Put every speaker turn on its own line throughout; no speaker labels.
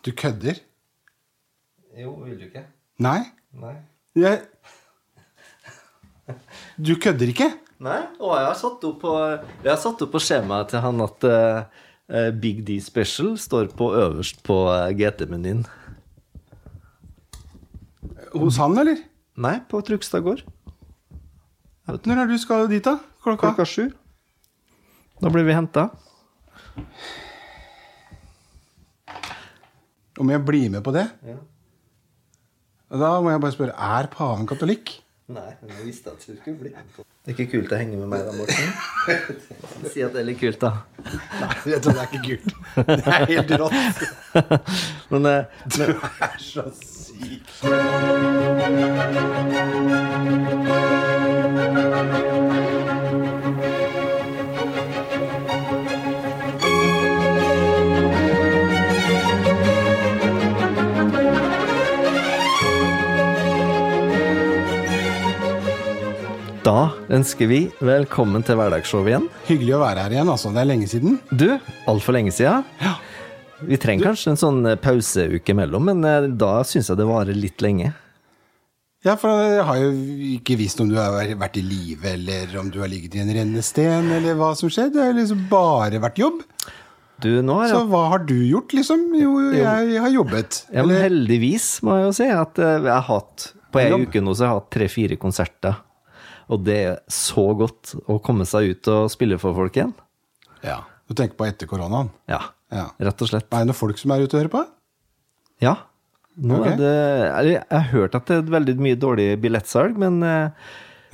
Du kødder?
Jo, vil du ikke?
Nei.
Nei.
Jeg Du kødder ikke?
Nei? Å, jeg har satt opp på, jeg har satt opp på skjemaet til han at eh, eh, Big D Special står på øverst på eh, GT-menyen.
Hos han, eller?
Nei, på Trugstad gård.
Når er det du skal dit, da? Klokka?
Klokka sju. Da blir vi henta.
Om jeg blir med på det?
Ja.
Da må jeg bare spørre Er paven katolikk?
Nei, men jeg visste at du skulle bli med på. Det er ikke kult å henge med meg da, Morten. si at det er litt kult, da.
Nei, vet du, det er ikke kult. Det er helt rått.
Men, eh, men
Du er så syk.
da ønsker vi velkommen til Hverdagsshowet igjen.
Hyggelig å være her igjen, altså. Det er lenge siden.
Du, altfor lenge siden.
Ja.
Vi trenger kanskje en sånn eh, pauseuke imellom, men eh, da syns jeg det varer litt lenge.
Ja, for jeg har jo ikke visst om du har vært i live, eller om du har ligget i en rennesten, eller hva som skjedde. Det har liksom bare vært jobb.
Du, nå har jeg
Så hva har du gjort, liksom? Jo, jeg har jobbet.
Ja, men heldigvis må jeg jo si at eh, jeg har hatt På en
Jobb.
uke nå så har jeg hatt tre-fire konserter. Og det er så godt å komme seg ut og spille for folk igjen.
Ja. Du tenker på etter koronaen?
Ja,
Ja.
rett og slett.
Er det noen folk som er ute og hører på?
Ja. Nå
Ok.
er det eller, Jeg har hørt at det er veldig mye dårlig billettsalg, men eh,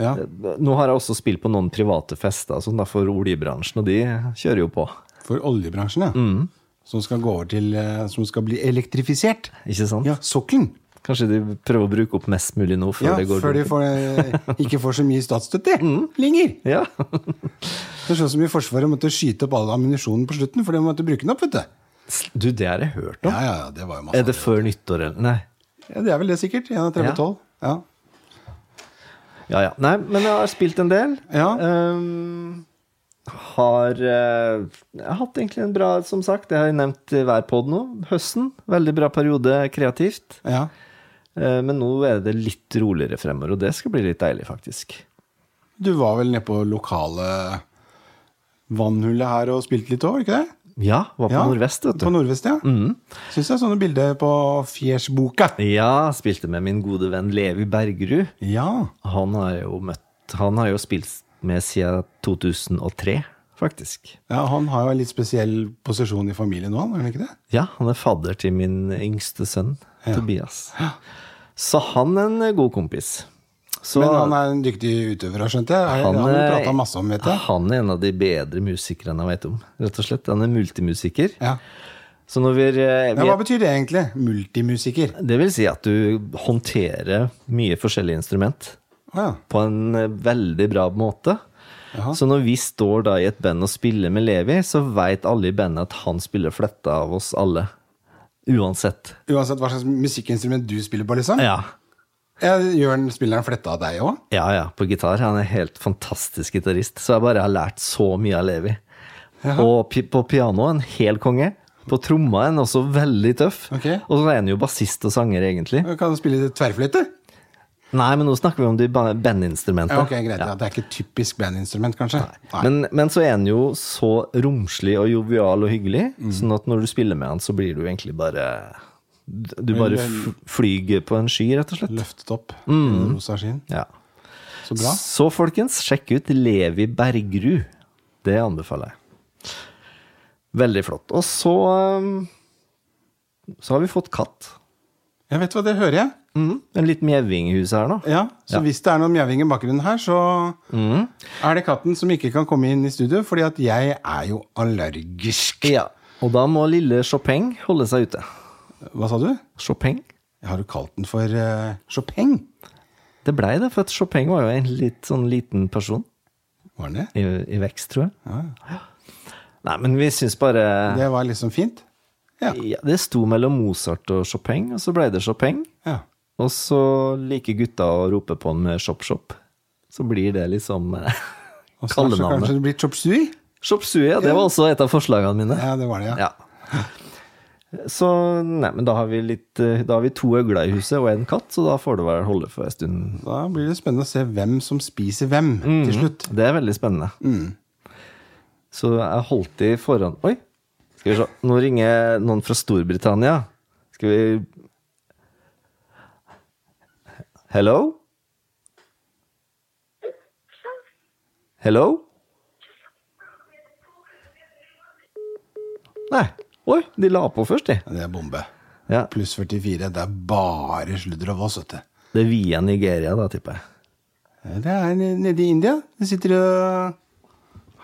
Ja.
nå har jeg også spilt på noen private fester sånn da, for oljebransjen, og de kjører jo på.
For oljebransjen, ja.
Mm.
Som skal gå over til eh, Som skal bli elektrifisert.
Ikke sant?
Ja, sokkelen.
Kanskje de prøver å bruke opp mest mulig nå før
Ja,
det går Mm.
før de
dunken.
får, eh, ikke får så mye statsstøtte lenger.
Ja.
Det er sånn som i Forsvaret måtte skyte opp all ammunisjonen på slutten, for de måtte bruke den opp, vet du.
Du, det har jeg hørt om.
Ja, ja, ja, det var jo masse.
Er det før nyttår, eller? Nei.
Ja, det er vel det, sikkert. 31-12. Ja.
Ja, ja. Nei, men jeg har spilt en del.
Ja.
Ehm, har eh, Jeg har hatt egentlig en bra, som sagt, jeg har jo nevnt i hver pod nå. Høsten. Veldig bra periode kreativt.
Ja.
Eh, men nå er det litt roligere fremover, og det skal bli litt deilig, faktisk.
Du var vel nede på lokale vannhullet her og spilte litt òg, var det ikke det?
Ja, var på
Ja,
Nordvest, vet
På
du. Mm.
Nordvest, ja. Syns jeg sånne bilder på Fjersboka.
Ja, spilte med min gode venn Levi Bergerud.
Ja.
Han har jo møtt Han har jo spilt med siden 2003, faktisk.
ja. Han har jo en litt spesiell posisjon i familien nå, han, er han ikke det?
Ja, han er fadder til min yngste sønn, Tobias. Så han er en god kompis. Så
Men han er en dyktig utøver, har jeg skjønt det? Han, eh, han
er-
prata masse om, vet du.
Han er en av de bedre musikerne jeg vet om, rett og slett. Han er multimusiker.
Ja.
Så når vi, er-
Ja,
vi
hva
er-
betyr det egentlig? Multimusiker.
Det vil si at du håndterer mye forskjellige instrument
Å ja.
på en eh, veldig bra måte. Så når vi står da i et band og spiller med Levi, så veit alle i bandet at han spiller fletta av oss alle. Uansett.
Uansett hva slags musikkinstrument du spiller på, liksom?
Ja.
Jeg gjør den spilleren fletta av deg òg?
Ja, ja, på gitar. Han er helt fantastisk gitarist. Så jeg bare har lært så mye av Levi. Og pi på piano en hel konge. På tromma er han også veldig tøff.
Ok.
Og så er han jo bassist og sanger, egentlig.
Kan du spille tverrfløyte?
Nei, men nå snakker vi om de ba- bandinstrumentene.
Ja, ok, greit. Ja. Det er ikke et typisk bandinstrument, kanskje? Nei.
Men, men så er han jo så romslig og jovial og hyggelig, sånn at når du spiller med han, så blir du egentlig bare Du bare f flyger på en sky, rett og slett.
Løftet opp. Rosa skinn.
Ja.
Så bra.
Så folkens, sjekk ut Levi Bergerud. Det anbefaler jeg. Veldig flott. Og så um, Så har vi fått katt.
Jeg vet hva, det hører jeg.
En liten mjauing i huset her nå.
Ja, Så hvis det er noen mjauing i bakgrunnen her, så er det katten som ikke kan komme inn i studio, fordi at jeg er jo allergisk.
Ja. Og da må lille Chopin holde seg ute.
Hva sa du?
Chopin?
Har du kalt den for eh, Chopin?
Det blei det, for at Chopin var jo en litt sånn liten person
Var den det?
i, i vekst, tror jeg. Nei, men vi syns bare det,
Det var liksom fint. Ja.
ja, det sto mellom Mozart og Chopin, og så blei det Chopin.
ja.
Og så liker gutta å rope på han med Chop Chop. Så blir det liksom eh,
Og snart så kanskje
kallenavnet.
det blir chop suey?
Chop Sui, ja. Det var også et av forslagene mine.
Ja, det var det, ja.
Ja. Så nei, men da har vi, litt, eh, da har vi to øgler i huset og en katt, så da får det vel holde for en stund.
Da blir det spennende å se hvem som spiser hvem til slutt.
Det er veldig spennende. Så jeg holdt de foran Oi! Skal vi se. Nå ringer noen fra Storbritannia. Skal vi Hello? Hello? Nei. Oi, de la på først, de.
Ja, Det er bombe.
Ja.
Pluss 44. Det er bare sludder og vås, vet du. Eh,
Det er via Nigeria, da, tipper jeg.
Det er n- nede i India. De sitter og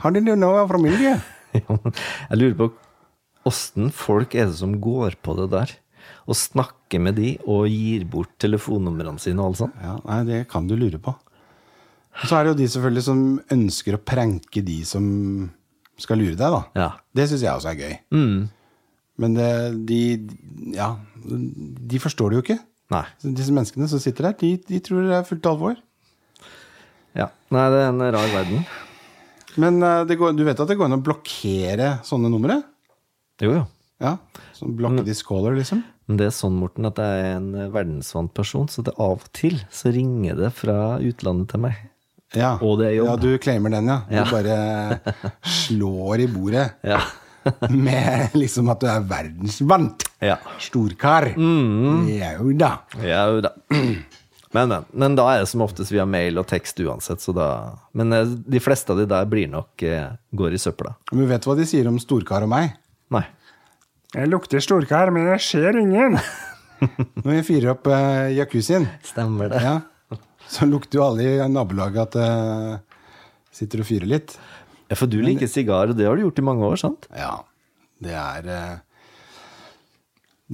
How did you know I'm from India?
Ja, men Jeg lurer på åssen folk er det som går på det der? Og snakker med de og gir bort telefonnumrene sine og alt sånt?
Ja, nei, det kan du lure på. Og så er det jo de selvfølgelig som ønsker å pranke de som skal lure deg, da.
Ja. Mm.
Det syns jeg også er gøy. Men det, de Ja, de forstår det jo ikke.
Nei.
Så Disse menneskene som sitter der, de, de tror det er fullt alvor.
Ja. Nei, det er en rar verden.
Men eh, det går, du vet at det går an å blokkere sånne numre?
Jo, jo.
Ja, Sånn blokke
Mm.
this caller, liksom?
Men det er sånn, Morten, at jeg er en verdensvant person, så det av og til så ringer det fra utlandet til meg.
Ja.
Og det er jobb.
ja, du claimer den, ja. Du
Ja.
bare slår i bordet
Ja.
med liksom at du er verdensvant.
Ja.
Storkar. Jau da.
Ja, jo da. Men, men, men da er det som oftest via mail og tekst uansett, så da Men eh, de fleste av de der blir nok eh, går i søpla.
Men vet du hva de sier om storkar og meg?
Nei.
Jeg lukter storkar, men jeg ser ingen. Når jeg fyrer opp eh, jacuzzien,
Stemmer det.
ja, så lukter jo alle i nabolaget at eh, sitter og fyrer litt.
Ja, for du liker sigar, og det har du gjort i mange år, sant?
Ja, det er eh,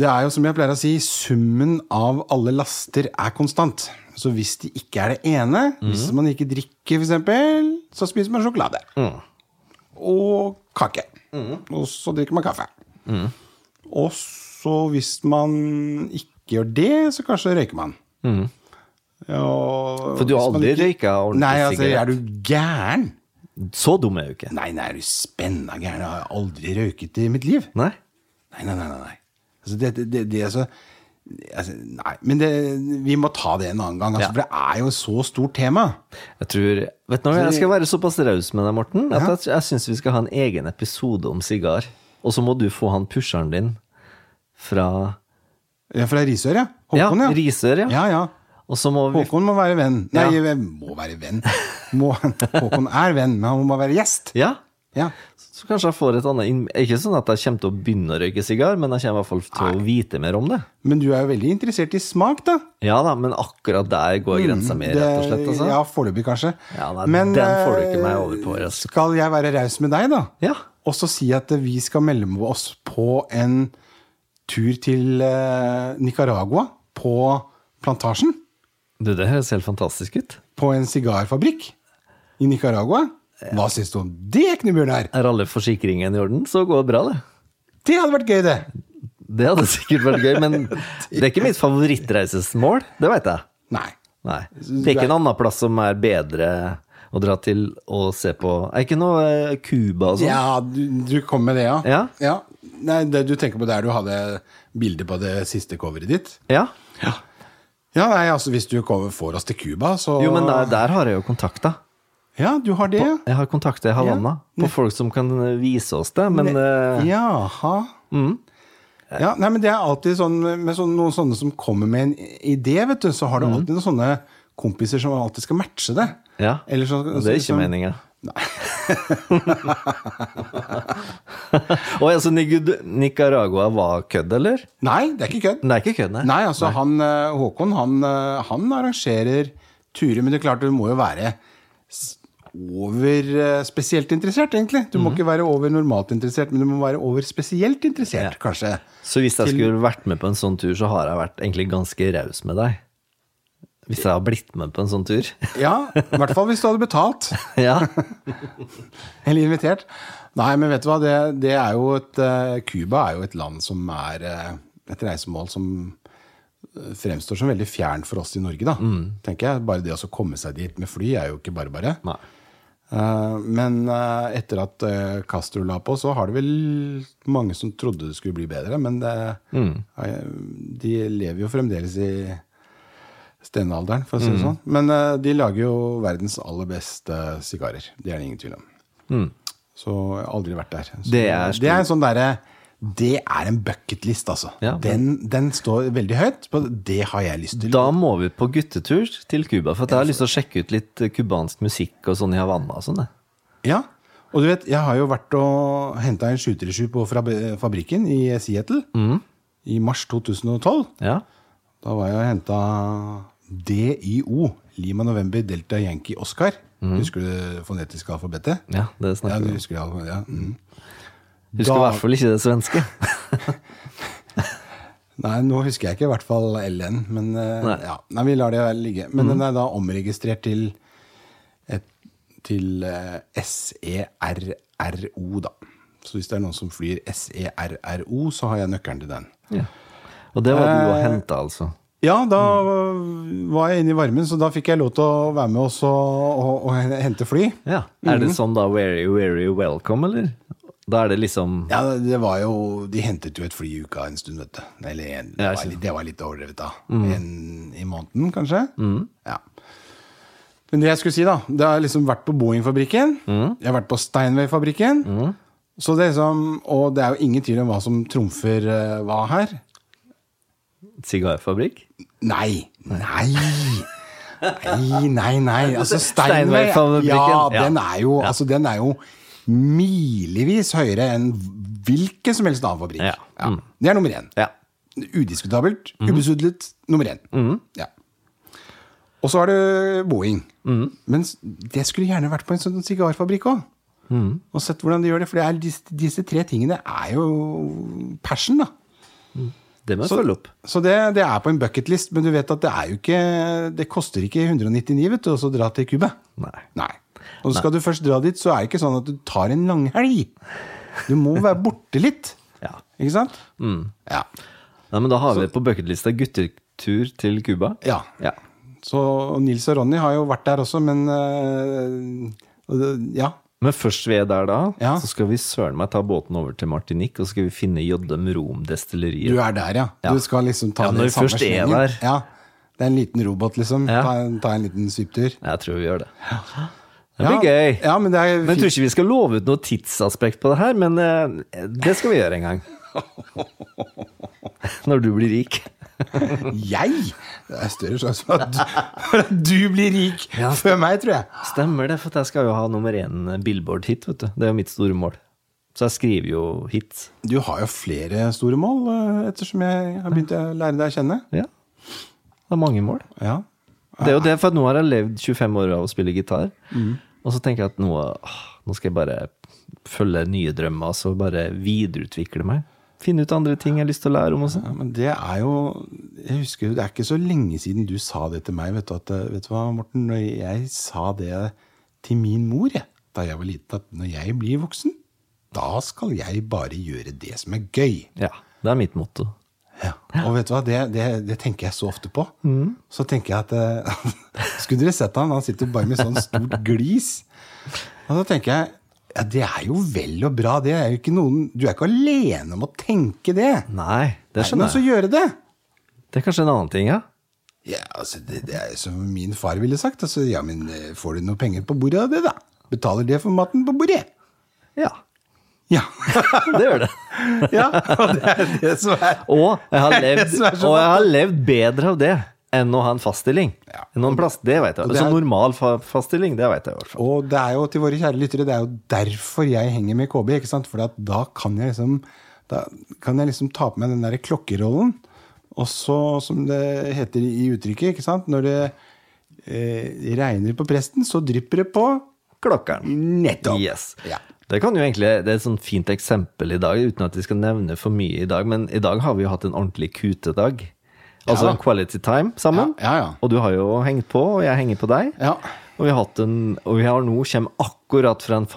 Det er jo som jeg pleier å si, summen av alle laster er konstant. Så hvis det ikke er det ene, hvis
Mhm.
man ikke drikker f.eks., så spiser man sjokolade.
Mm.
Og kake. Og så drikker man kaffe.
Mm.
Og så hvis man ikke gjør det, så kanskje røyker man. Ja,
Mm. For du har
hvis man
aldri
ikke-
røyka ordentlig
Nei, altså,
sigarett?
er du gæren?
Så dum er jeg jo ikke.
Nei, nei, er du spenna gæren? Jeg har aldri røyket i mitt liv.
Nei?
Nei, nei, nei. nei, nei. Altså, det, det, det, det er så altså, Nei, men det, vi må ta det en annen gang, altså,
Ja.
for det er jo et så stort tema.
Jeg tror Vet du hva, jeg skal være såpass raus med deg, Morten, at
Ja.
jeg, jeg syns vi skal ha en egen episode om sigar. Og så må du få han pusheren din fra
Ja, fra Risør, ja. Håkon, ja.
ja. Risør, ja.
ja, ja.
Og så må vi
Håkon må være venn. Nei,
Ja.
jeg må være venn. Må, Håkon er venn, men han må være gjest.
Ja.
Ja.
Så kanskje jeg får et annet inn... Ikke sånn at jeg kommer til å begynne å røyke sigar, men jeg kommer i hvert fall til å vite mer om det.
Men du er jo veldig interessert i smak, da.
Ja da, men akkurat der går grensa mi, rett og slett. Altså.
Ja, foreløpig, kanskje.
Ja, nei, den får du ikke
eh,
meg over på, altså.
Skal jeg være raus med deg, da?
Ja.
Og så si at vi skal melde oss på en tur til eh, Nicaragua, på plantasjen.
Du, det høres helt fantastisk ut.
På en sigarfabrikk i Nicaragua. Hva syns du om det, Knebjørnar?
Er alle forsikringene i orden, så går det bra, det.
Det hadde vært gøy, det!
Det hadde sikkert vært gøy, men det er ikke mitt favorittreisesmål. Det veit jeg.
Nei.
Nei. Det er ikke en annen plass som er bedre å dra til og se på Er ikke noe eh, Cuba og sånn?
Ja, du, du kom med det, ja.
Ja.
Nei, det, du tenker på der du hadde bilde på det siste coveret ditt?
Ja.
Ja, nei, altså Hvis du kommer, får oss til Cuba, så
Jo, men der, der har jeg jo kontakta.
Ja, du har det, ja.
Jeg har kontakta i Havanna på folk som kan eh, vise oss det, men eh,
Jaha.
Mm.
Ja, nei, men det er alltid sånn med sånn, noen sånne som kommer med en idé, vet du, så har du
Mm.
alltid noen sånne kompiser som alltid skal matche det.
ja.
Eller så,
Det er ikke
som-
meninga. Og altså, Nigu- Nicaragua var kødd, eller?
Nei, det er ikke kødd.
Det er ikke kødd, nei.
Nei, altså han eh, Håkon, han, eh, han arrangerer turer, men det er klart du må jo være s- over eh, spesielt interessert, egentlig. Du
Mm-hmm.
må ikke være over normalt interessert, men du må være over spesielt interessert, kanskje.
Så hvis jeg skulle vært med på en sånn tur, så har jeg vært egentlig ganske raus med deg. Hvis jeg har blitt med på en sånn tur.
Ja, i hvert fall hvis du hadde betalt.
ja.
Eller invitert. Nei, men vet du hva, det, det er jo et eh, Cuba er jo et land som er eh, et reisemål som eh, fremstår som veldig fjern for oss i Norge, da. Tenker jeg. Bare det å så komme seg dit med fly er jo ikke bare bare.
Mm. Nei.
Eh, men eh, etter at eh, Castro la på, så har det vel mange som trodde det skulle bli bedre. Men det,
Mm.
eh, de lever jo fremdeles i stenalderen, for å
Mm.
si det sånn. Men eh, de lager jo verdens aller beste sigarer. Det er det ingen tvil om. Så jeg har aldri vært der. Så,
Mm. Det er stor-
det er en sånn derre det er en bucketlist, altså.
Ja.
den, den står veldig høyt. På, det har jeg lyst til.
Da må vi på guttetur til Cuba, for at jeg har lyst til å sjekke ut litt eh, cubansk musikk og sånn i Havanna og sånn. jeg.
Ja, og du vet, jeg har jo vært og henta en 737 på fra- eh, fabrikken i Seattle
Mhm.
i mars 2012.
Ja.
Da var jeg og henta DIO, Lima November Delta Yankee Oscar. Husker du det fonetiske alfabetet?
Mhm. ja, det
Ja,
snakker
du
vi om.
husker det alfabetet, ja. Mm.
Husker i
da-
hvert fall ikke det svenske.
Nei, nå husker jeg ikke i hvert fall LN, men eh,
Nei.
Ja. Nei, vi lar det ligge. Men den er da omregistrert til, et, til eh, SERRO, da. Så hvis det er noen som flyr E SERRO, så har jeg nøkkelen til den.
Ja. Og det var du og henta, altså.
Ja, da øh, var jeg inne i varmen, så da fikk jeg lov til å være med også og, og hente fly.
Ja. Er det sånn da very, very welcome, eller? Da er det liksom
Ja, det var jo De hentet jo et fly i uka en stund, vet du. Eller en, det,
Ja,
var,
ikke
litt- det var litt overdrevet, da. En i måneden, kanskje. Ja. Men det jeg skulle si, da Det har liksom vært på Boeing-fabrikken. Jeg har vært på Steinway-fabrikken. Så det er liksom, Og det er jo ingen tvil om hva som trumfer eh, hva her.
sigarfabrikk?
Nei! Nei! Nei, nei, nei. Altså, Steinway
Steinway-fabrikken,
Ja,
ja.
den er jo,
Ja.
altså, den er jo milevis høyere enn hvilken som helst annen fabrikk.
Ja. Mm. Mhm.
Ja. Det er nummer én.
Ja.
Udiskutabelt, ubesudlet, nummer én.
Mhm.
Ja. Og så er det Boeing.
Mhm.
Men s- det skulle gjerne vært på en sånn sigarfabrikk òg.
Mhm.
Og sett hvordan de gjør det. For det er disse, disse tre tingene er jo passion, da.
Det må jeg
Så,
følge opp.
så det, det er på en bucketlist, men du vet at det er jo ikke Det koster ikke 199 vet du, å så dra til Cuba.
Nei.
Nei. Og skal du først dra dit, så er det ikke sånn at du tar en langhelg. Du må være borte litt.
Ja.
Ikke sant?
Mm.
Ja.
Nei, men da har vi på bucketlista guttetur til Cuba.
ja.
Ja.
Så Nils og Ronny har jo vært der også, men øh, og det- Ja.
Men først vi er der da,
Ja.
så skal vi søren meg ta båten over til Martinique, og så skal vi finne Jodem Rom-destilleriet.
Du er der, ja.
Ja.
Du skal liksom ta
Ja, når
det
vi først er
slengen.
der.
Ja. Det er en liten robot, liksom.
Ja.
Ta, en, ta en liten svipptur.
Jeg tror vi gjør det. Det blir gøy.
Ja, men det er
Men jeg
fint.
tror ikke vi skal love ut noe tidsaspekt på det her, men eh, det skal vi gjøre en gang. Når du blir rik.
Jeg? Det er større sjanse for at du, for at du blir rik før meg, tror jeg.
Stemmer det, for at jeg skal jo ha nummer én Billboard-hit, vet du. Det er jo mitt store mål. Så jeg skriver jo hits.
Du har jo flere store mål, eh, ettersom jeg har begynt å lære deg å kjenne.
Ja. Det er mange mål.
Ja.
Det er jo det, for at nå har jeg levd 25 år av å spille gitar.
Mm.
Og så tenker jeg at nå, åh, nå skal jeg bare følge nye drømmer, altså bare videreutvikle meg. Finne ut andre ting jeg har lyst til å lære om også.
ja, men det er jo Jeg husker jo, det er ikke så lenge siden du sa det til meg, vet du, at, eh, vet du hva, Morten? Når jeg sa det til min mor jeg, da jeg var liten, at når jeg blir voksen, da skal jeg bare gjøre det som er gøy.
Ja, det er mitt motto.
Ja. Og vet du hva, det, det, det tenker jeg så ofte på. Så tenker jeg at eh, Skulle dere sett han, han sitter bare med sånn stort glis. Og så tenker jeg ja, det er jo vel og bra, det. Er jo ikke noen, du er ikke alene om å tenke det.
Nei, det
Men
skjønner
så
jeg.
gjøre det.
Det er kanskje en annen ting, ja.
Ja, altså, det, det er som min far ville sagt. Altså, ja, men eh, får du noe penger på bordet av det, da? Betaler det for maten på bordet?
Ja,
Ja.
det gjør det.
ja og det er det som er
Og jeg har levd,
Det er så
og jeg har levd bedre av det enn å ha en faststilling.
Ja.
Enn å ha en plass, det vet jeg.
det
Så
er-
normal fa faststilling, det vet jeg i hvert fall.
Og det er jo til våre kjære lyttere, det er jo derfor jeg henger med KB. ikke sant? For da kan jeg liksom da kan jeg liksom ta på meg den der klokkerollen. Og så, som det heter i uttrykket, ikke sant? når det eh, regner på presten, så drypper det på.
Klokkeren.
Nettopp.
Yes.
Ja.
Det kan jo egentlig, det er et sånt fint eksempel i dag, uten at vi skal nevne for mye i dag, men i dag har vi jo hatt en ordentlig kutedag. Altså
Ja.
quality time sammen.
Ja, ja, ja.
Og du har jo hengt på, og jeg henger på deg.
Ja.
Og vi har, hatt en, og vi har nå kommer akkurat fra en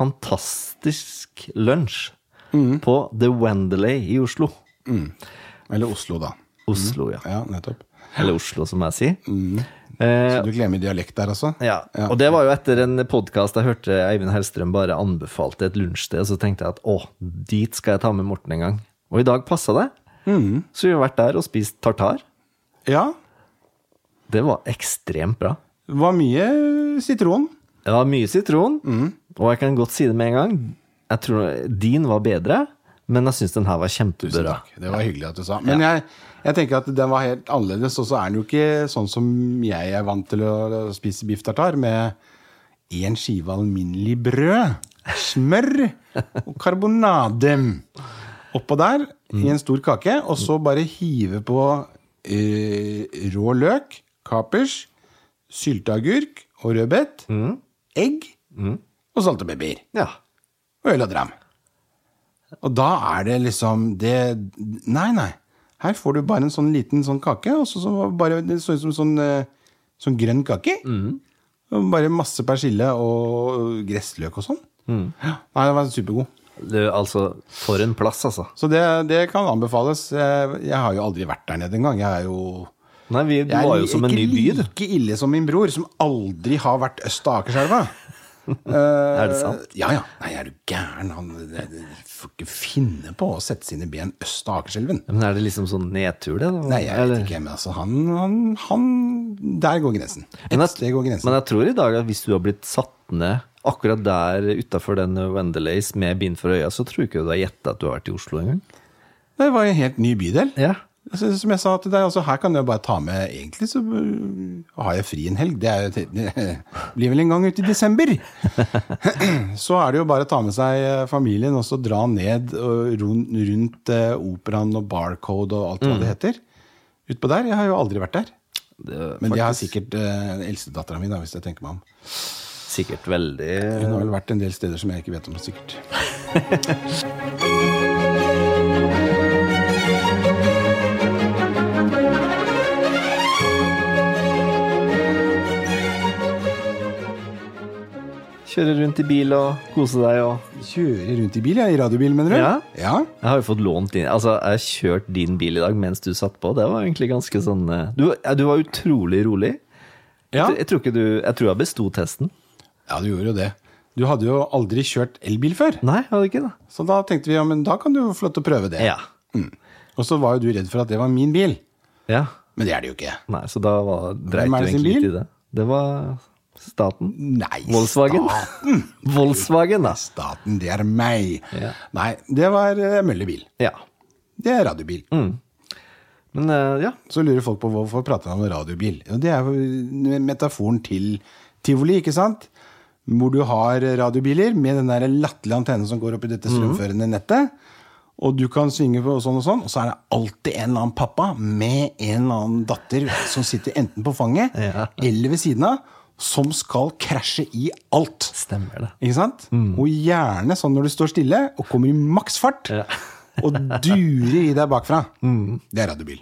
fantastisk lunsj
Mm.
på The Wendeley i Oslo.
Eller Oslo, da.
Oslo, ja.
Ja, nettopp. Mm.
Eller Oslo, som jeg sier. Eh,
Så du glemmer dialekt der også?
ja. Og det var jo etter en podkast jeg hørte Eivind Hellstrøm bare anbefalte et lunsjsted, og så tenkte jeg at å, dit skal jeg ta med Morten en gang. Og i dag passa det. Så vi har vært der og spist tartar.
ja.
Det var ekstremt bra.
Det var mye sitron.
Det var mye sitron, og jeg kan godt si det med en gang. Jeg tror din var bedre, men jeg syns den her var
Tusen
kjempebra.
takk. Det var hyggelig at du sa. Men jeg, jeg tenker at den var helt annerledes, og så er den jo ikke sånn som jeg er vant til å spise biff tartar, med én skive alminnelig brød, smør og karbonade oppå der i en stor kake, og så bare hive på eh, rå løk, kapers, sylteagurk og rødbet, egg og saltepepper
Ja.
og øl og dram. Og da er det liksom det Nei, nei. Her får du bare en sånn liten sånn kake. Og så, så bare, det så ut som sånn, eh, sånn grønn kake. Og Bare masse persille og gressløk og sånn. Ja, Nei, den var supergod.
Det, altså, for en plass, altså.
Så det, det kan anbefales. Jeg, jeg har jo aldri vært der nede engang. Jeg er jo
Nei, vi, du
jeg
var jo som en ny by, du.
Ikke like ille som min bror, som aldri har vært øst av Akerselva. er
det sant?
Ja, ja. Nei, er du gæren? Han det- det- får ikke finne på å sette sine ben øst av Akerselven.
Men er det liksom sånn nedtur, det? da?
Nei, jeg
Eller-
vet ikke, men altså, han, han, han Der går grensen.
Men
Et
jeg-
sted går grensen.
Men jeg tror i dag at hvis du har blitt satt ned akkurat der utafor den Wendelays med bind for øya, så tror jeg ikke du har gjetta at du har vært i Oslo engang.
Det var en helt ny bydel.
Ja.
Altså, Som jeg sa til deg, altså, her kan jeg bare ta med Egentlig så øh, har jeg fri en helg. Det, er, jo til- det blir vel en gang ut i desember. Så er det jo bare å ta med seg eh, familien og så dra ned og rund, rundt eh, operaen og Barcode og alt hva
Mm.
det heter. Utpå der. Jeg har jo aldri vært der.
Det er
Men
faktisk
det har sikkert eh, eldstedattera mi, da, hvis jeg tenker meg om.
sikkert veldig
Hun har vel vært en del steder som jeg ikke vet om, sikkert.
Kjøre rundt i bil og kose deg og
Kjører rundt i bil, jeg. I radiobil, mener du?
Ja.
ja.
Jeg har jo fått lånt din Altså, jeg har kjørt din bil i dag mens du satt på. Det var egentlig ganske sånn eh, Du, ja, du var utrolig rolig.
Ja.
Jeg, tror- jeg tror ikke du Jeg tror jeg besto testen.
Ja, du gjorde jo det. Du hadde jo aldri kjørt elbil før.
Nei, jeg hadde ikke det.
Så da tenkte vi ja, men da kan du få lov til å prøve det.
Ja.
Og så var jo du redd for at det var min bil.
ja.
Men det er det jo ikke.
Nei, så da var, dreit
Hvem er
du
det sin
egentlig
bil?
litt i det. Det var staten.
Nei,
Volkswagen. Volkswagen, da.
Staten, staten det er meg.
Ja.
Nei, det var eh, møllebil.
Ja.
Det er radiobil.
Men eh, ja.
Så lurer folk på hvorfor prater han om radiobil. Og det er jo metaforen til tivoli, ikke sant? Hvor du har radiobiler med den der latterlige antennen som går opp i dette strømførende nettet. Og du kan svinge på sånn og sånn, og så er det alltid en eller annen pappa med en eller annen datter som sitter enten på fanget
Ja.
eller ved siden av, som skal krasje i alt.
Stemmer det.
Ikke sant? Og gjerne sånn når du står stille og kommer i maksfart
Ja.
og durer i deg bakfra. Det er radiobil.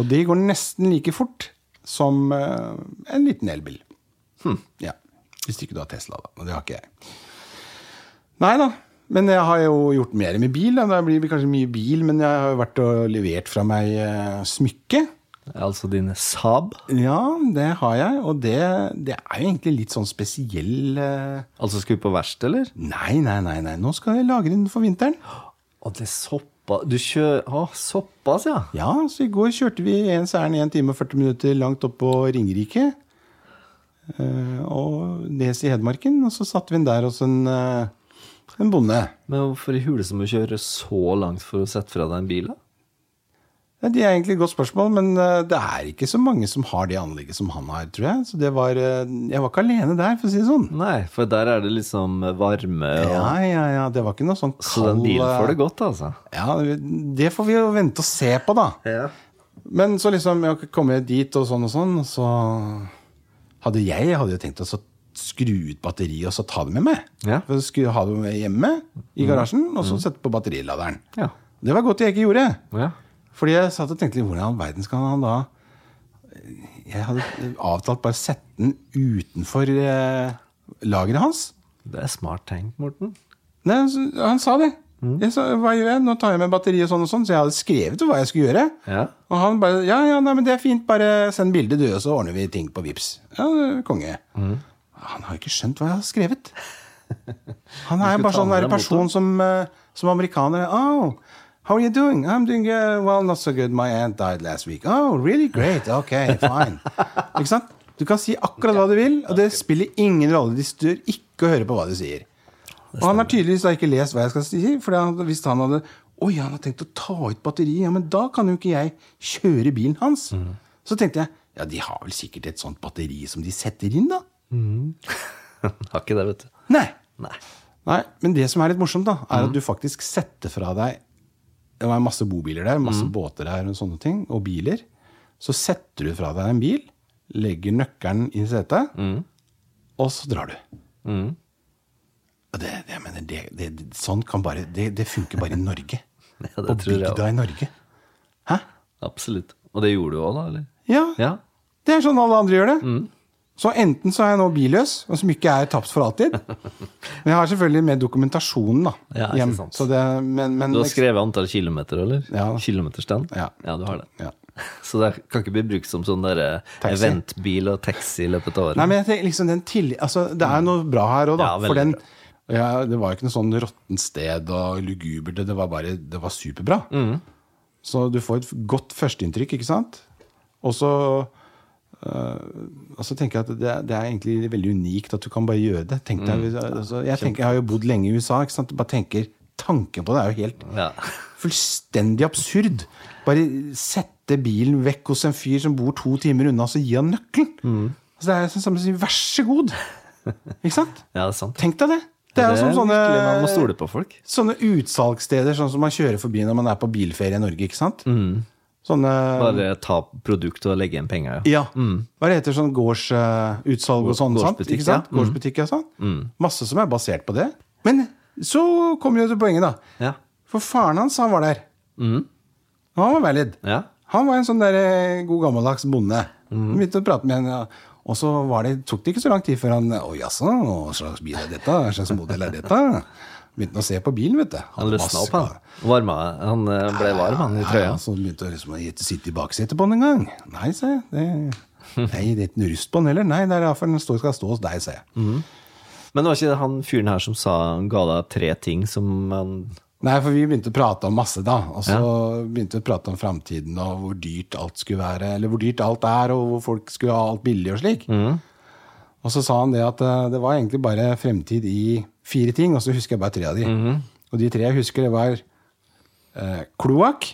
Og de går nesten like fort som eh, en liten elbil. Ja. Hvis ikke du har Tesla, da. Og det har ikke jeg. Nei da. Men jeg har jo gjort mer med bil. Da. Det blir vel kanskje mye bil, men jeg har jo vært og levert fra meg eh, smykke.
Altså dine Saab.
Ja, det har jeg. Og det, det er jo egentlig litt sånn spesiell eh,
Altså skal vi på verst, eller?
Nei, nei, nei, nei. nå skal jeg lagre den for vinteren.
Å, det er såpass Du kjører Å, såpass, ja.
Ja, så i går kjørte vi ens ærend 1 time og 40 minutter langt opp på Ringerike. eh, Og nes i Hedmarken. Og så satte vi den der hos en, eh, en bonde.
Men hvorfor i huleste må du kjøre så langt for å sette fra deg en bil, da?
Ja, Det er egentlig et godt spørsmål, men eh, det er ikke så mange som har det anlegget som han har, tror jeg. Så det var eh, Jeg var ikke alene der, for å si det sånn.
Nei, for der er det liksom varme og
Ja, ja, ja. Det var ikke noe sånn
Så den bilen
eh,
får det godt, altså.
Ja, det får vi jo vente og se på, da.
Ja.
Men så liksom, jeg kom jeg dit og sånn og sånn, og så hadde jeg, jeg hadde jo tenkt å så skru ut batteriet og så ta det med meg.
Ja. Mm.
For jeg skulle ha det med hjemme i garasjen, og så sette på batteriladeren.
Ja.
Det var godt jeg ikke gjorde.
ja.
Fordi jeg satt og tenkte, hvordan i all verden skal han da Jeg hadde avtalt bare å sette den utenfor eh, lageret hans.
Det er smart tenkt, Morten.
Nei, så- han sa det.
Mm.
Jeg sa, hva gjør jeg? Nå tar jeg med batteri og sånn og sånn. Så jeg hadde skrevet hva jeg skulle gjøre.
Ja.
Og han bare Ja, ja, nei, men det er fint. Bare send bilde, du, og så ordner vi ting på Vips. Ja, konge. Han har jo ikke skjønt hva jeg har skrevet. Han er jo bare
Du skulle ta
sånn
med
der
deg
person som, eh, som amerikanere Oh, how are you doing? I'm doing uh, well, not so good. My aunt died last week. Oh, really great. Ok, fine. ikke sant? Du kan si akkurat hva du vil, og det spiller ingen rolle. De stør ikke å høre på hva du sier. Og han har tydeligvis da ikke lest hva jeg skal si, for han, hvis han hadde Oi, han har tenkt å ta ut batteriet, ja, men da kan jo ikke jeg kjøre bilen hans.
Mm.
Så tenkte jeg ja, de har vel sikkert et sånt batteri som de setter inn, da.
Har ikke det, vet du.
Nei.
Nei. Mm.
Nei, men det som er litt morsomt, da, er at du faktisk setter fra deg Det var masse bobiler der, masse
Mm.
båter der og sånne ting, og biler. Så setter du fra deg en bil, legger nøkkelen i setet,
Mm.
og så drar du. Og det, det, jeg mener, det, det, det, sånn kan bare Det, det funker bare i Norge.
Ja, det
På
tror jeg
bygda i Norge. Hæ?
Absolutt. Og det gjorde du òg, da? eller?
Ja,
Ja.
det er sånn alle andre gjør det.
Mm.
Så enten så er jeg nå billøs, og som ikke er tapt for alltid. Men jeg har selvfølgelig med dokumentasjonen, da.
Ja, ikke
hjem.
sant.
Så det, men, men,
Du har skrevet antall kilometer, eller?
Ja da.
Kilometerstand?
Ja.
ja, du har det.
Ja.
Så det kan ikke bli brukt som sånn derre
Taxi.
eventbil og taxi i løpet av året?
Nei, men jeg tenker, liksom den tilli... Altså, det er jo noe bra her òg, da.
Ja, veldig
for den ja, Det var jo ikke noe sånn råttent sted og lugubert, det var bare Det var superbra.
Mm.
Så du får et godt førsteinntrykk, ikke sant? Og så øh, og så tenker jeg at det, er- det er egentlig veldig unikt at du kan bare gjøre det. Tenk deg,
Mm.
altså, jeg, tenker, jeg har jo bodd lenge i USA. Ikke sant? Bare tenker, Tanken på det er jo helt
Ja.
fullstendig absurd. Bare sette bilen vekk hos en fyr som bor to timer unna, så gi han nøkkelen.
Mm.
Altså, det er sånn som å si 'vær så god'. Ikke sant?
ja, det er sant.
Tenk deg det. Det er jo som
virkelig, Man må
sånne,
stole på folk.
sånne utsalgssteder sånn som man kjører forbi når man er på bilferie i Norge, ikke sant?
Mm.
Sånne
Bare
Mm.
ta produkt og legge igjen penger. Ja.
ja. Hva det heter sånn gårdsutsalg og sånn? sant?
Mm. gårdsbutikk,
Ikke sant?
ja. Mm.
Gårdsbutikk og sånn. Masse som er basert på det. Men så kommer jo til poenget, da.
Ja.
For faren hans, han var der. Og han var valid.
Mm. ja. Mm.
Han var en sånn der eh, god gammeldags bonde. Han Begynte å prate med henne, ja. og så var det, tok det ikke så lang tid før han Å jaså, hva slags bil er dette? Hva slags modell er dette? Begynte å se på bilen, vet du.
Han løsna opp, han. Varma, han eh, ble varm, han, i
Ja,
trøya.
så begynte jeg liksom å gjette- sitte i baksetet på den en gang. Nei, sa jeg. Det, nei, det er ikke noe rust på den heller. Nei, det er derfor den står, skal stå hos deg, sa jeg.
Men det var ikke han fyren her som sa han ga deg tre ting som han
Nei, for vi begynte å prate om masse da, og så begynte vi å prate om framtiden og hvor dyrt alt skulle være, eller hvor dyrt alt er, og hvor folk skulle ha alt billig og slik. Og så sa han det at eh, det var egentlig bare fremtid i fire ting, og så husker jeg bare tre av de. Og de tre jeg husker, det var eh, kloakk,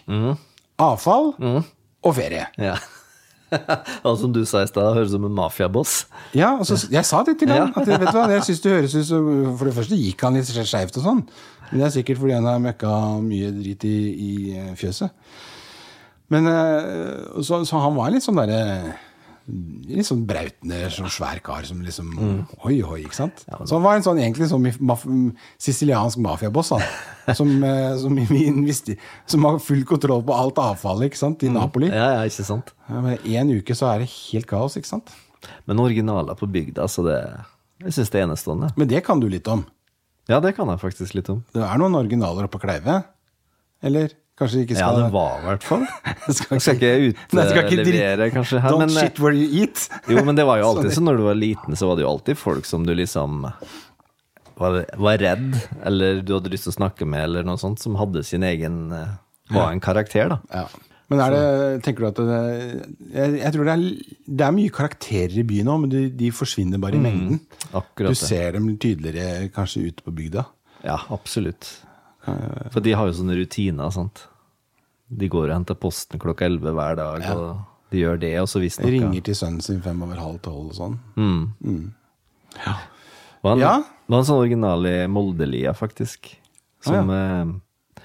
avfall og ferie.
Ja. Han som du sa i stad, høres ut som en mafiaboss.
Ja, og så, jeg sa det til ham.
Ja.
At, vet du hva, jeg synes det høres ut som For det første gikk han litt skeivt og sånn. Men det er sikkert fordi han har møkka mye drit i, i eh, fjøset. Men eh, så, så han var litt sånn derre Litt sånn brautende, sånn svær kar som liksom Hoi, hoi, ikke sant? Så han var en sånn, egentlig sånn mif- maf siciliansk mafiaboss, han. Som, eh, som, vi investi- som har full kontroll på alt avfallet, ikke sant, i Napoli.
Ja, ja, ikke sant?
Ja, men én uke så er det helt kaos, ikke sant?
Men originaler på bygda, så det Jeg syns det er enestående.
Men det kan du litt om.
Ja, det kan jeg faktisk litt om.
Det er noen originaler oppe på Kleive? Eller kanskje vi ikke
Ja,
skal
det var i hvert fall.
skal
Skal ikke
Nei, skal ikke
utlevere,
dritt-
kanskje, her,
Don't
men- eh,
shit where you eat.
Jo, men det var jo alltid sånn når du var liten, så var det jo alltid folk som du liksom var, var redd, eller du hadde lyst til å snakke med, eller noe sånt, som hadde sin egen eh, Var en karakter, da.
Ja. Men er det, tenker du at det, jeg, jeg tror det er, det er mye karakterer i byen òg, men de, de forsvinner bare i mengden.
Mm. Akkurat
Du
det.
ser dem tydeligere kanskje ute på bygda.
Ja, absolutt. For de har jo sånne rutiner, sant. De går og henter posten klokka elleve hver dag, og de gjør det, og så visstnok ja.
Ringer til sønnen sin fem over halv tolv og sånn.
Mm. Det var en,
Ja.
det var en sånn original i Moldelia, faktisk. Som, eh,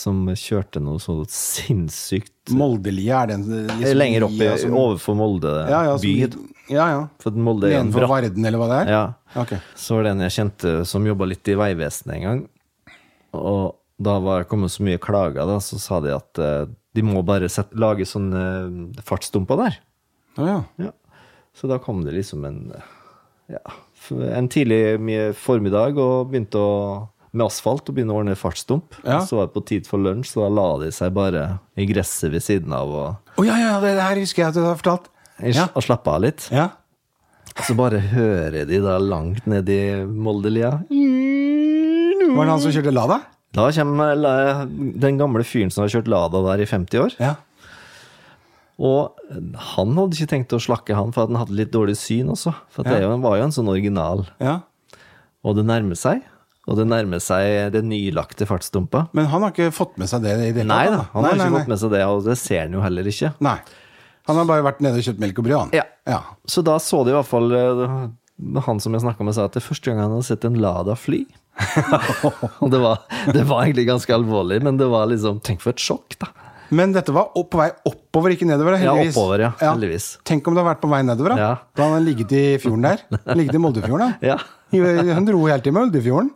som kjørte noe så sinnssykt
Moldelia er den liksom,
Lenger opp i,
lia som-
overfor Molde
ja, ja, som-
by.
Ja, ja.
For at Molde er en
Nedenfor
bratt
Varden, eller hva det er?
ja.
Ok.
Så var det en jeg kjente som jobba litt i Vegvesenet en gang. Og da var det kommet så mye klager, da, så sa de at eh, de må bare sette, lage sånne eh, fartsdumper der.
Å, ja.
Ja. Så da kom det liksom en ja, f- en tidlig mye formiddag og begynte å med asfalt og begynne å ordne fartsdump.
Ja.
Så var det på tid for lunsj, så da la de seg bare i gresset ved siden av og,
Å ja, ja, det det her husker jeg at du har fortalt. Ja.
og slappa av litt.
ja.
Så bare hører de da langt nedi Moldelia
Var det han som kjørte Lada?
Da kommer la- den gamle fyren som har kjørt Lada der i 50 år.
Ja.
Og han hadde ikke tenkt å slakke han, for at han hadde litt dårlig syn også. For at det jo- var jo en sånn original.
ja.
Og det nærmer seg. Og det nærmer seg den nylagte fartsdumpa.
Men han har ikke fått med seg det i det
Nei da, han har
nei,
ikke
nei,
fått med seg det, og det ser han jo heller ikke.
nei. Han har bare vært nede og kjøpt melk og brød, han.
Ja.
ja.
Så da så de i hvert fall eh, Han som jeg snakka med, sa at det er første gang han hadde sett en Lada fly. Og det var, det var egentlig ganske alvorlig, men det var liksom Tenk for et sjokk, da.
Men dette var opp, på vei oppover, ikke nedover. da,
Ja,
Heldigvis.
oppover, ja, heldigvis.
Tenk om det hadde vært på vei nedover, da.
Ja.
Da hadde han ligget i fjorden der. Ligget i Moldefjorden, da.
Ja,
Han dro helt til Moldefjorden.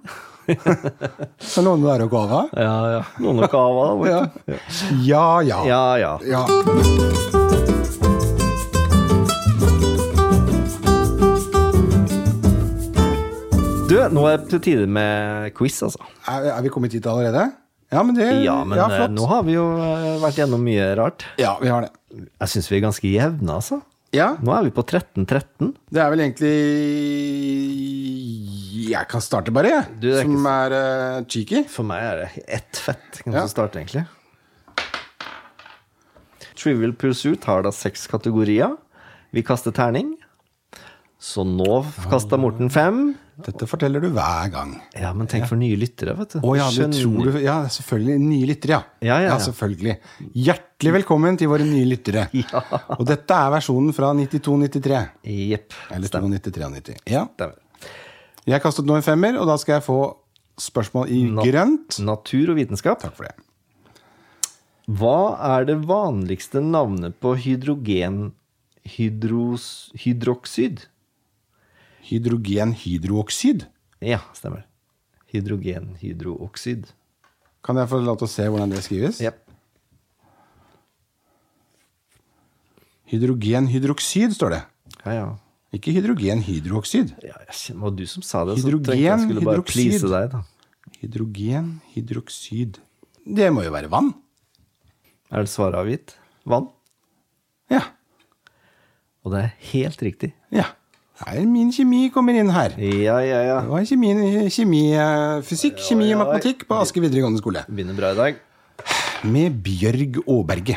Så noen der å gå av. da.
ja. ja. Noen nok av da,
Ja.
vet du.
Ja, ja.
Ja, ja.
Ja.
Du, nå er det på tide med quiz, altså.
Er, er vi kommet hit allerede? Ja, men det
Ja, men
ja,
eh,
flott.
nå har vi jo eh, vært gjennom mye rart.
Ja, vi har det.
Jeg syns vi er ganske jevne, altså.
Ja,
Nå er vi på 13-13.
det er vel egentlig Jeg kan starte bare, jeg.
Du, det er
som
ikke-
er eh, cheeky.
For meg er det ett fett. Kan
Ja.
du starte, egentlig? Trivial Pursuit har da seks kategorier. Vi kaster terning. Så nå kasta Morten fem.
Dette forteller du hver gang.
Ja, men tenk for nye lyttere, vet du.
Å ja, du
Skjønner-
tror du Ja, selvfølgelig. Nye lyttere, ja.
Ja, ja, ja.
selvfølgelig. Hjertelig velkommen til våre nye lyttere.
Ja.
Og dette er versjonen fra 92-93.
Jepp.
Eller
Stemmer.
92-93. Ja.
Stemmer.
Jeg kastet nå en femmer, og da skal jeg få spørsmål i grønt.
Natur og vitenskap.
Takk for det.
Hva er det vanligste navnet på hydrogen hydros, hydroksid?
Hydrogenhydrooksid.
Ja, stemmer. Hydrogenhydrooksid.
Kan jeg få lov til å se hvordan det skrives?
Jepp.
Hydrogenhydroksid står det.
Ja, ja.
Ikke hydrogenhydrooksid.
Ja, jeg kjenner, det var du som sa det.
Hydrogen,
så tenkte jeg skulle bare
hydroksid.
please deg, da.
Hydrogenhydroksid Det må jo være vann.
Er det svaret avgitt? Vann.
Ja.
Og det er helt riktig.
ja. Her min kjemi kommer inn her.
Ja, ja, ja.
Det var kjemi, kjemi eh, fysikk, kjemi og matematikk på Aske videregående skole.
Begynner bra i dag.
Med Bjørg Aaberge.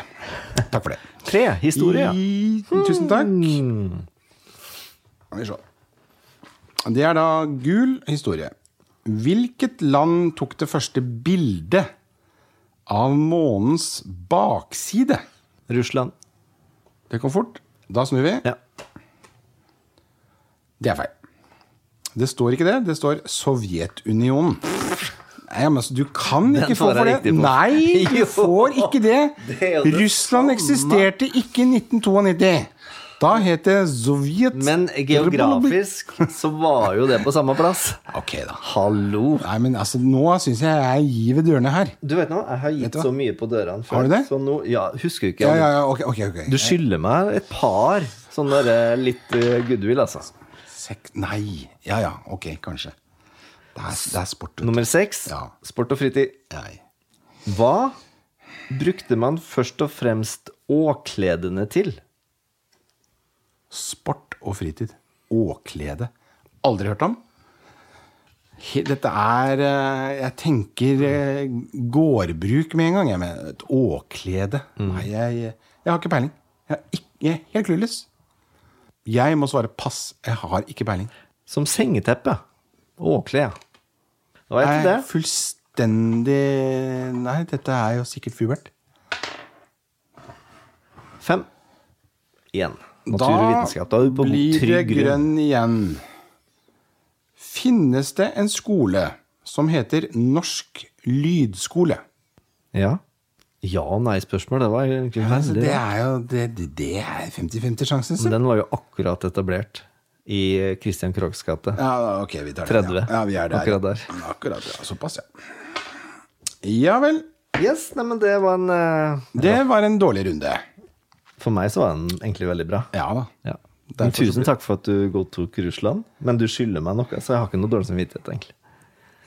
Takk for det.
Tre. Historie.
I, tusen takk. Skal vi se. Det er da gul historie. Hvilket land tok det første bildet av månens bakside?
Russland.
Det kom fort. Da snur vi.
Ja.
Det er feil. Det står ikke det. Det står Sovjetunionen. Nei, men altså, Du kan
Den
ikke få
får jeg
for det.
riktig på.
Nei, du
Jo.
får ikke det.
Det er jo det
Russland
samme.
eksisterte ikke i 1992. Da het det Sovjet...
Men geografisk så var jo det på samme plass.
Ok, da.
Hallo.
Nei, men altså, nå syns jeg jeg gir ved dørene her.
Du vet nå, jeg har gitt
hva?
så mye på dørene før.
Har du det?
Så nå, ja, husker du ikke?
Ja, ja, ja, ok, ok. ok.
Du skylder meg et par sånne der litt eh, goodwill, altså.
Sek nei. Ja, ja, ok, kanskje. Det er, det er sport. vet du.
Nummer seks,
Ja.
sport og fritid.
Nei.
Hva brukte man først og fremst åkledene til?
Sport og fritid. Åklede. Aldri hørt om. He- Dette er eh, Jeg tenker eh, gårdbruk med en gang. Jeg mener, et åklede.
Mm.
Nei, jeg, jeg har ikke peiling. Jeg, har ikk- jeg er helt clueless. Jeg må svare pass. Jeg har ikke peiling.
Som sengeteppe. Åkle, ja. Da vet
Jeg
du det.
er fullstendig Nei, dette er jo sikkert fubert.
Fem. Igjen. Natur og vitenskap. Da er du på
blir det
trygg grunn.
grønn igjen. Finnes det en skole som heter Norsk lydskole?
Ja. Ja- og nei-spørsmål. Det var egentlig
Altså,
veldig
det er jo det, det- det er 50-50 sjansen, så.
Den var jo akkurat etablert i Christian Krohgs gate.
Ja, ok, vi tar den.
30.
Ja. ja, vi er der.
Akkurat der.
Akkurat, ja. Såpass, ja. Ja vel.
Yes, nei, men det var en eh,
Det var en dårlig runde.
For meg så var den egentlig veldig bra.
Ja da.
Ja. Men
Derfor så
tusen takk for at du godtok Russland, men du skylder meg noe, så jeg har ikke noe dårlig samvittighet, egentlig.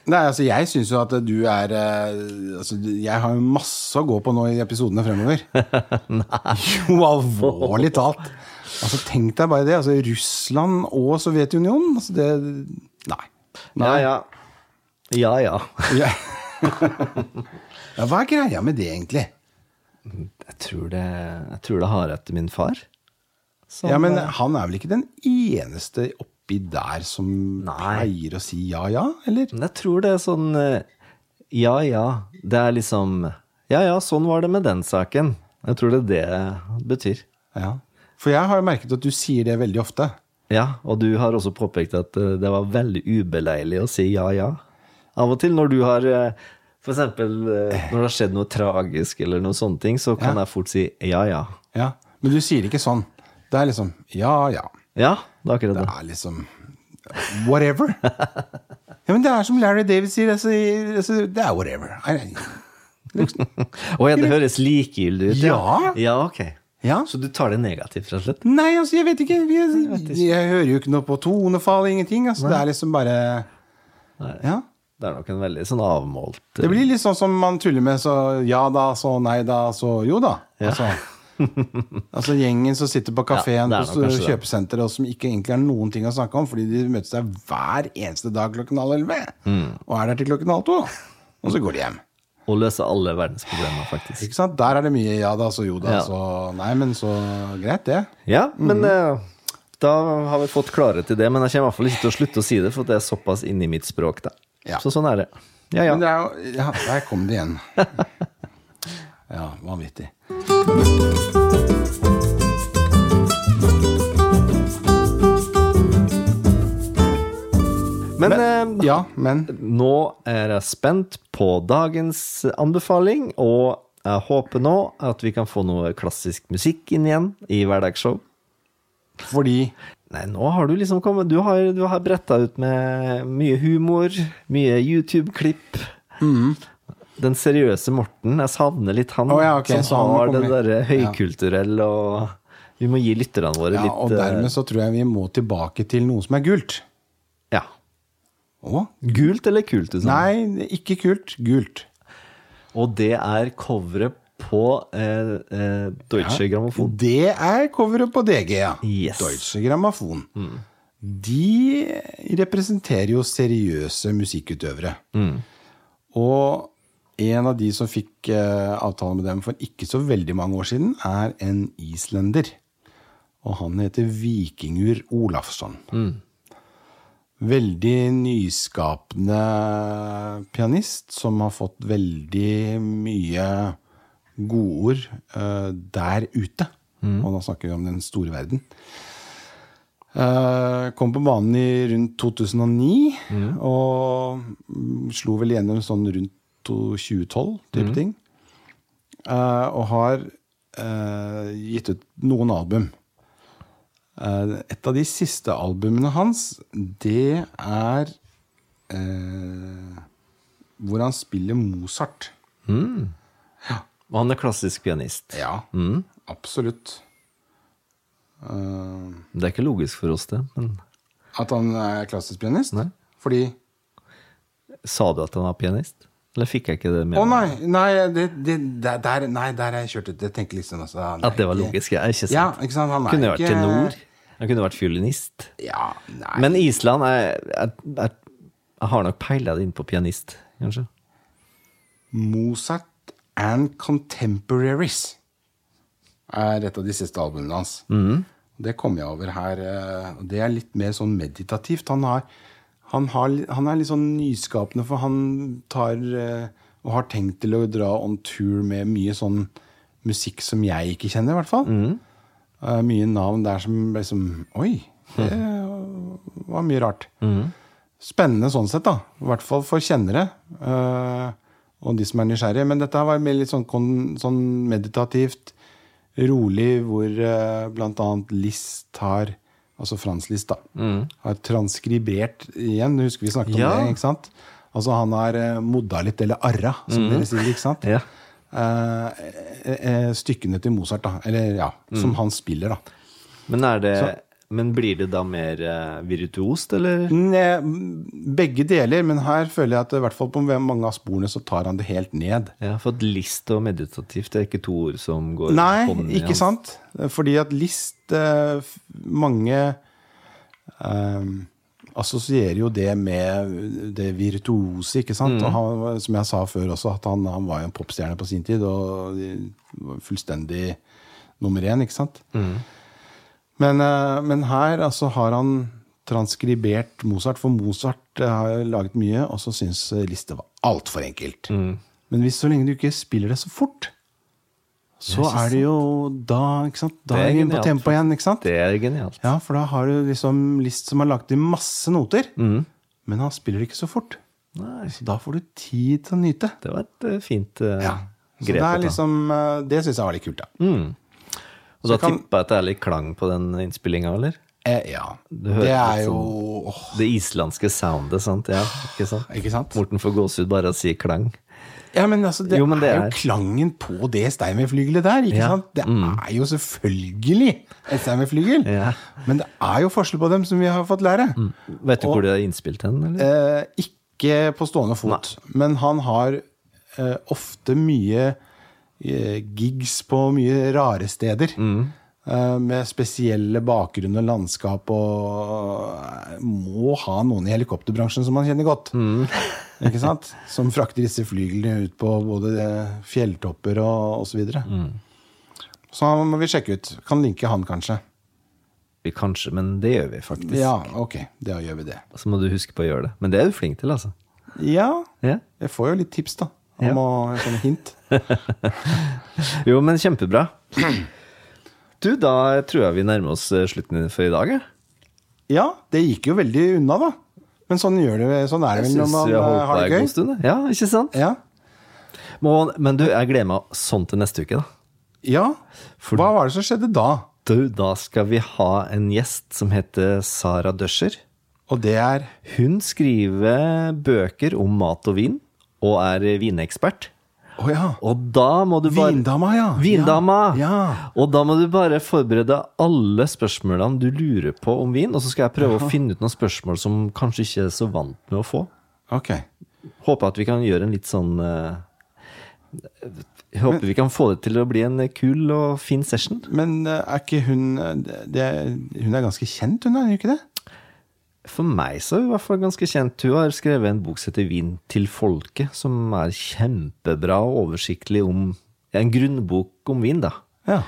Nei, altså Jeg syns jo at du er eh, altså, Jeg har jo masse å gå på nå i episodene fremover. Jo, alvorlig talt. Altså Tenk deg bare det. altså Russland og Sovjetunionen. Altså, det Nei.
Ja, ja. Ja, ja.
Ja. ja, hva er greia med det, egentlig?
Jeg tror det, jeg tror det har etter min far. Som,
Ja, men Han er vel ikke den eneste oppi der som
Nei.
pleier å si ja, ja? Eller?
Men jeg tror det er sånn eh, Ja, ja. Det er liksom Ja, ja, sånn var det med den saken. Jeg tror det er det betyr.
Ja. For jeg har jo merket at du sier det veldig ofte.
Ja, og du har også påpekt at eh, det var veldig ubeleilig å si ja, ja. Av og til når du har eh, For eksempel eh, når det har skjedd noe tragisk eller noen sånne ting, så kan jeg fort si ja, ja.
Ja. Men du sier det ikke sånn. Det er liksom ja, ja.
Ja, det er akkurat
Det
det.
er liksom whatever. Ja, men det er som Larry David sier, altså, altså, det er whatever. I-
Å ja, det høres likegyldig ut.
Ja.
ja, ok.
Ja.
Så du tar det negativt, rett og slett?
Nei, altså, jeg vet ikke. Jeg, jeg hører jo ikke noe på tonefall, ingenting. Altså, det er liksom bare
Nei.
ja.
Det er nok en veldig sånn avmålt
Det blir litt sånn som man tuller med så ja da, så nei da, så jo da. Altså, altså gjengen som sitter på
Ja,
kafeen
det er
på
nok kanskje det.
kjøpesenteret og som ikke egentlig har noen ting å snakke om, fordi de møtes der hver eneste dag klokken halv elleve.
Mm.
Og er der til klokken halv to. Og så går de hjem.
å løse alle verdens problemer, faktisk.
Ikke sant? Der er det mye ja da, så jo da,
Ja.
så nei, men så greit, det.
Ja,
Mhm.
men eh, da har vi fått klarhet i det. Men jeg kommer i hvert fall ikke til å slutte å si det, for det er såpass inni mitt språk, da.
Ja.
Så sånn er det. Ja, ja.
Men det er jo ja, Der kom det igjen. Ja, vanvittig.
Men, eh,
Ja, men
nå er jeg spent på dagens anbefaling, og jeg håper nå at vi kan få noe klassisk musikk inn igjen i hverdagsshow.
fordi
Nei, nå har du liksom kommet Du har, du har bretta ut med mye humor, mye YouTube-klipp. Den seriøse Morten. Jeg savner litt han
Mm. Å ja, ok, så
som
han
har
kommer
den
litt.
derre høykulturelle og Vi må gi lytterne våre
Ja,
litt
og
eh,
dermed så tror jeg vi må tilbake til noe som er gult.
Ja.
Å?
Gult eller kult? du sa?
Nei, ikke kult. Gult.
Og det er coveret på eh, eh, Deutsche Grammophon.
Det er coveret på DG, ja.
Yes.
Deutsche Grammophon. De representerer jo seriøse musikkutøvere. Og en av de som fikk eh, avtale med dem for ikke så veldig mange år siden, er en islender. Og han heter Vikingur Olafsson. Veldig nyskapende pianist som har fått veldig mye godord eh, der ute. Og da snakker vi om den store verden. Eh, kom på banen i rundt 2009, og mm, slo vel igjennom sånn rundt to- 2012, type ting. Eh, og har eh, gitt ut noen album. Eh, et av de siste albumene hans, det er eh, hvor han spiller Mozart.
Og han er klassisk pianist.
Ja, absolutt. Eh,
Det er ikke logisk for oss, det. Men
at han er klassisk pianist?
Nei.
Fordi
sa du at han var pianist? Eller fikk jeg ikke det med
Å
meg?
nei, nei, det, det, der, der- nei, der er jeg kjørt ut. Jeg tenker liksom altså, han er
At det var
ikke-
logisk? Ja, ikke sant?
Ja, ikke sant? Han er
kunne vært
ikke-
tenor. Han kunne vært fiolinist.
Ja, nei.
Men Island er, er, er Jeg har nok peila det inn på pianist, kanskje.
Mozart and Contemporaries er et av de siste albumene hans.
Mhm.
Det kom jeg over her. eh, og Det er litt mer sånn meditativt. Han, har, han, har, li- han er litt sånn nyskapende, for han tar eh, og har tenkt til å dra on tour med mye sånn musikk som jeg ikke kjenner, i hvert fall.
Mhm.
Eh, mye navn der som liksom Oi! Det var mye rart.
Mhm.
Spennende sånn sett, da. I hvert fall for kjennere. eh, og de som er nysgjerrige. Men dette her var mer litt sånn, kon, sånn meditativt, rolig, hvor eh, blant annet List har Altså Frans List, da. Har transkribert igjen. Du husker vi snakket om
Mhm. Ja.
det, ikke sant? Altså han har eh, modda litt, eller arra, som dere sier, ikke sant?
Mhm. Ja.
Eh, eh, eh, stykkene til Mozart, da. Eller ja, som han spiller, da.
Men er det Men blir det da mer eh, virtuost, eller?
Mm. Ne- eh, Begge deler, men her føler jeg at i hvert fall på mange av sporene så tar han det helt ned.
Ja, for at list og meditativt det er ikke to ord som går
Nei,
hånd i
ikke
hånd.
sant? Fordi at list eh, f- Mange eh, assosierer jo det med det virtuose, ikke sant? Og han, var- som jeg sa før også, at han, han var jo en popstjerne på sin tid, og var fullstendig nummer én, ikke sant? Men, eh, men her altså, har han transkribert Mozart, for Mozart eh, har laget mye, og så syns Liste var altfor enkelt.
Mm.
Men hvis så lenge du ikke spiller det så fort, så er det jo da ikke sant? Da
Det er
er vi inne på
genialt,
tempo igjen, ikke sant?
Det er genialt.
Ja, for da har du liksom List som har lagt i masse noter, men han spiller ikke så fort.
Mm. Nei,
Så da får du tid til å nyte.
det var et eh, fint eh,
Så
grep
det
å
er
ta.
liksom eh, Det syns jeg var litt kult, da.
Mm. Og da
Så kan-
tipper jeg at det er litt klang på den innspillinga, eller?
Eh, ja.
høres
Det er
litt
jo åh,
Det islandske soundet, sant? Ja, ikke sant?
Ikke sant?
Morten får gåsehud bare av å si klang.
Ja, men altså, det,
Jo, men det
er,
er-
jo klangen på det Steinway-flygelet der, ikke
Ja. Mm.
sant? Det er jo selvfølgelig et Steinway-flygel.
Ja. Mm.
Men det er jo forskjell på dem, som vi har fått lære.
Vet du hvor de har innspilt hen, eller?
Eh, ikke på stående fot, men han har eh, ofte mye eh, gigs på mye rare steder. Eh, med spesielle bakgrunn og landskap og eh, Må ha noen i helikopterbransjen som man kjenner godt. ikke sant? Som frakter disse flyglene ut på både eh, fjelltopper og osv. Så, videre. så han må vi sjekke ut. Kan linke han, kanskje.
Vi Kanskje, men det gjør vi faktisk.
Ja, ok. Da gjør vi det.
Så må du huske på å gjøre det. Men det er du flink til, altså.
Ja,
Ja.
Jeg får jo litt tips, da. Om
Ja.
å, sånne hint.
Jo, men kjempebra. Du, da tror jeg vi nærmer oss eh, slutten for i dag. jeg.
Ja, det gikk jo veldig unna, da. Men sånn, gjør det, sånn er det vel når
Synes
man
vi har
eh,
holdt
har
på en
det
god
gøy. Eh.
stund. jeg. Ja, ikke sant?
Ja.
Må, men du, jeg gleder meg sånn til neste uke, da.
ja.
For-
Hva var det som skjedde da?
Du, da skal vi ha en gjest som heter Sara Døscher.
Og det er
Hun skriver bøker om mat og vin, og er vinekspert.
Å ja.
Og da må du bare
Vindama, ja.
Vindama!
Ja.
Og da må du bare forberede alle spørsmålene du lurer på om vin, og så skal jeg prøve å finne ut noen spørsmål som kanskje ikke er så vant med å få.
ja. Ok.
Håper at vi kan gjøre en litt sånn eh, jeg Håper vi kan få det til å bli en kul og fin session.
Men eh, er ikke hun eh, det, Hun er ganske kjent, hun, er hun ikke det?
For meg så er hun i hvert fall ganske kjent. Hun har skrevet en bok som heter Vin til folket, som er kjempebra og oversiktlig om En grunnbok om vin, da.
Ja.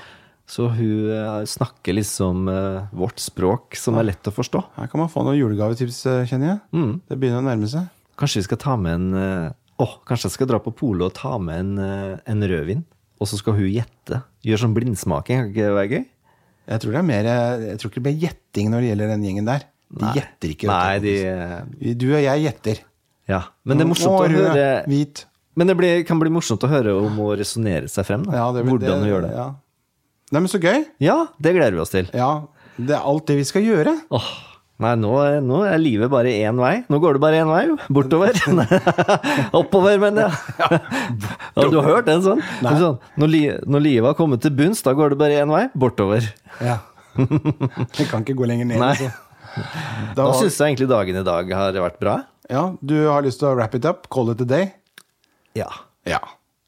Så hun eh, snakker liksom eh, vårt språk, som er lett å forstå.
Her kan man få noen julegavetips, eh, kjenner jeg.
Mm.
Det begynner å nærme seg.
Kanskje vi skal ta med en eh, Åh, kanskje jeg skal dra på polet og ta med en, eh, en rødvin? Og så skal hun gjette. Gjør sånn blindsmaking, kan ikke det være gøy?
Jeg tror, det er mer, eh, jeg tror ikke det blir gjetting når det gjelder den gjengen der. De gjetter ikke.
Nei,
vet du.
de eh,
Du og jeg gjetter.
Ja. Men det er morsomt
Å,
å
rød,
høre
Hvit.
Men det blir, kan bli morsomt å høre om å resonnere seg frem. Da.
Ja, det,
Hvordan hun gjør det.
Ja. Nei, men så gøy.
Ja, det gleder vi oss til.
Ja, det er alt det vi skal gjøre.
Åh, nei, nå, er- nå er livet bare én vei. Nå går det bare én vei, jo. Bortover. Nei, Oppover, mener jeg. Ja, du har hørt den sånn?
Nei.
sånn når, li, når livet har kommet til bunns, da går det bare én vei. Bortover.
Ja. Vi kan ikke gå lenger ned.
Nei.
altså. Da
Da
var-
syns jeg egentlig dagen i dag har vært bra.
ja, du har lyst til å wrap it up? Call it a day?
Ja.
Ja.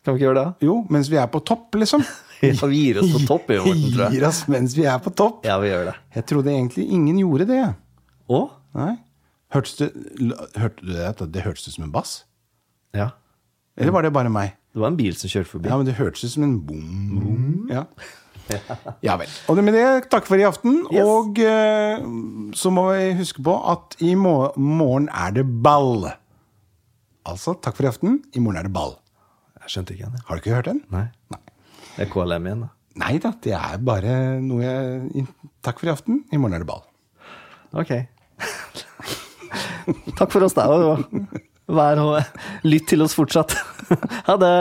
Kan vi ikke gjøre det?
Jo, mens vi er på topp, liksom.
Ja, vi gir oss på topp, vi, Morten, tror jeg.
Gir oss mens vi er på topp.
Ja, vi gjør det.
Jeg trodde egentlig ingen gjorde det.
Og?
Nei. Hørtes det, l- hørte du det? at Det hørtes ut som en bass?
Ja.
Eller var det bare meg?
Det var en bil som kjørte forbi.
Ja, men det hørtes ut som en bom. Ja. ja vel. Og med det, takk for i aften.
Yes.
Og eh, så må vi huske på at i mo- morgen er det ball. Altså, takk for i aften. I morgen er det ball.
Jeg skjønte ikke den. jeg.
Har du ikke hørt den?
Nei. Det er KLM igjen, da.
Nei da, det er bare noe jeg in- Takk for i aften. I morgen er det ball.
Ok. Takk for oss, da. og Vær og lytt til oss fortsatt. Ha det.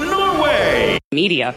Norway! media.